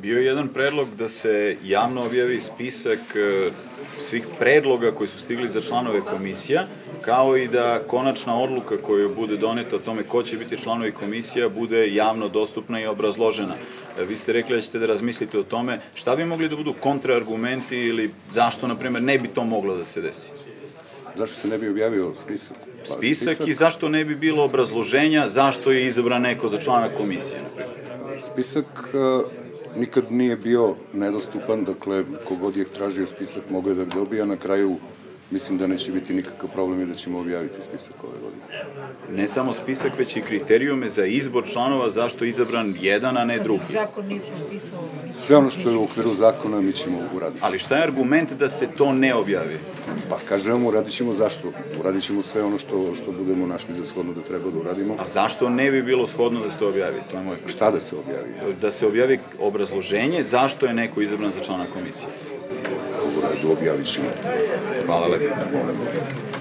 bio je jedan predlog da se javno objavi spisak e, svih predloga koji su stigli za članove komisija, kao i da konačna odluka koja bude doneta o tome ko će biti članovi komisija bude javno dostupna i obrazložena. E, Vi ste rekli da ćete da razmislite o tome šta bi mogli da budu kontraargumenti ili zašto, na primer, ne bi to moglo da se desi. Zašto se ne bi objavio spisak? Pa, Spisak i zašto ne bi bilo obrazloženja zašto je izabran neko za člana komisije, na primer. Spisak e, nikad nije bio nedostupan, dakle, kogod je tražio spisak mogao je da ga dobije, a na kraju mislim da neće biti nikakav problem i da ćemo objaviti spisak ove godine. ne samo spisak, već i kriterijume za izbor članova zašto je izabran jedan, a ne drugi. Zakon nije propisao. Sve ono što je u okviru zakona mi ćemo uraditi. Ali šta je argument da se to ne objavi? Pa kažem vam, uradit ćemo zašto? Uradit ćemo sve ono što, što budemo našli za shodno da treba da uradimo. A zašto ne bi bilo shodno da se to objavi? To je moje pitanje. Šta da se objavi? Da se objavi obrazloženje zašto je neko Da, izabran za člana komisije. U redu objavit ćemo. Hvala lepo.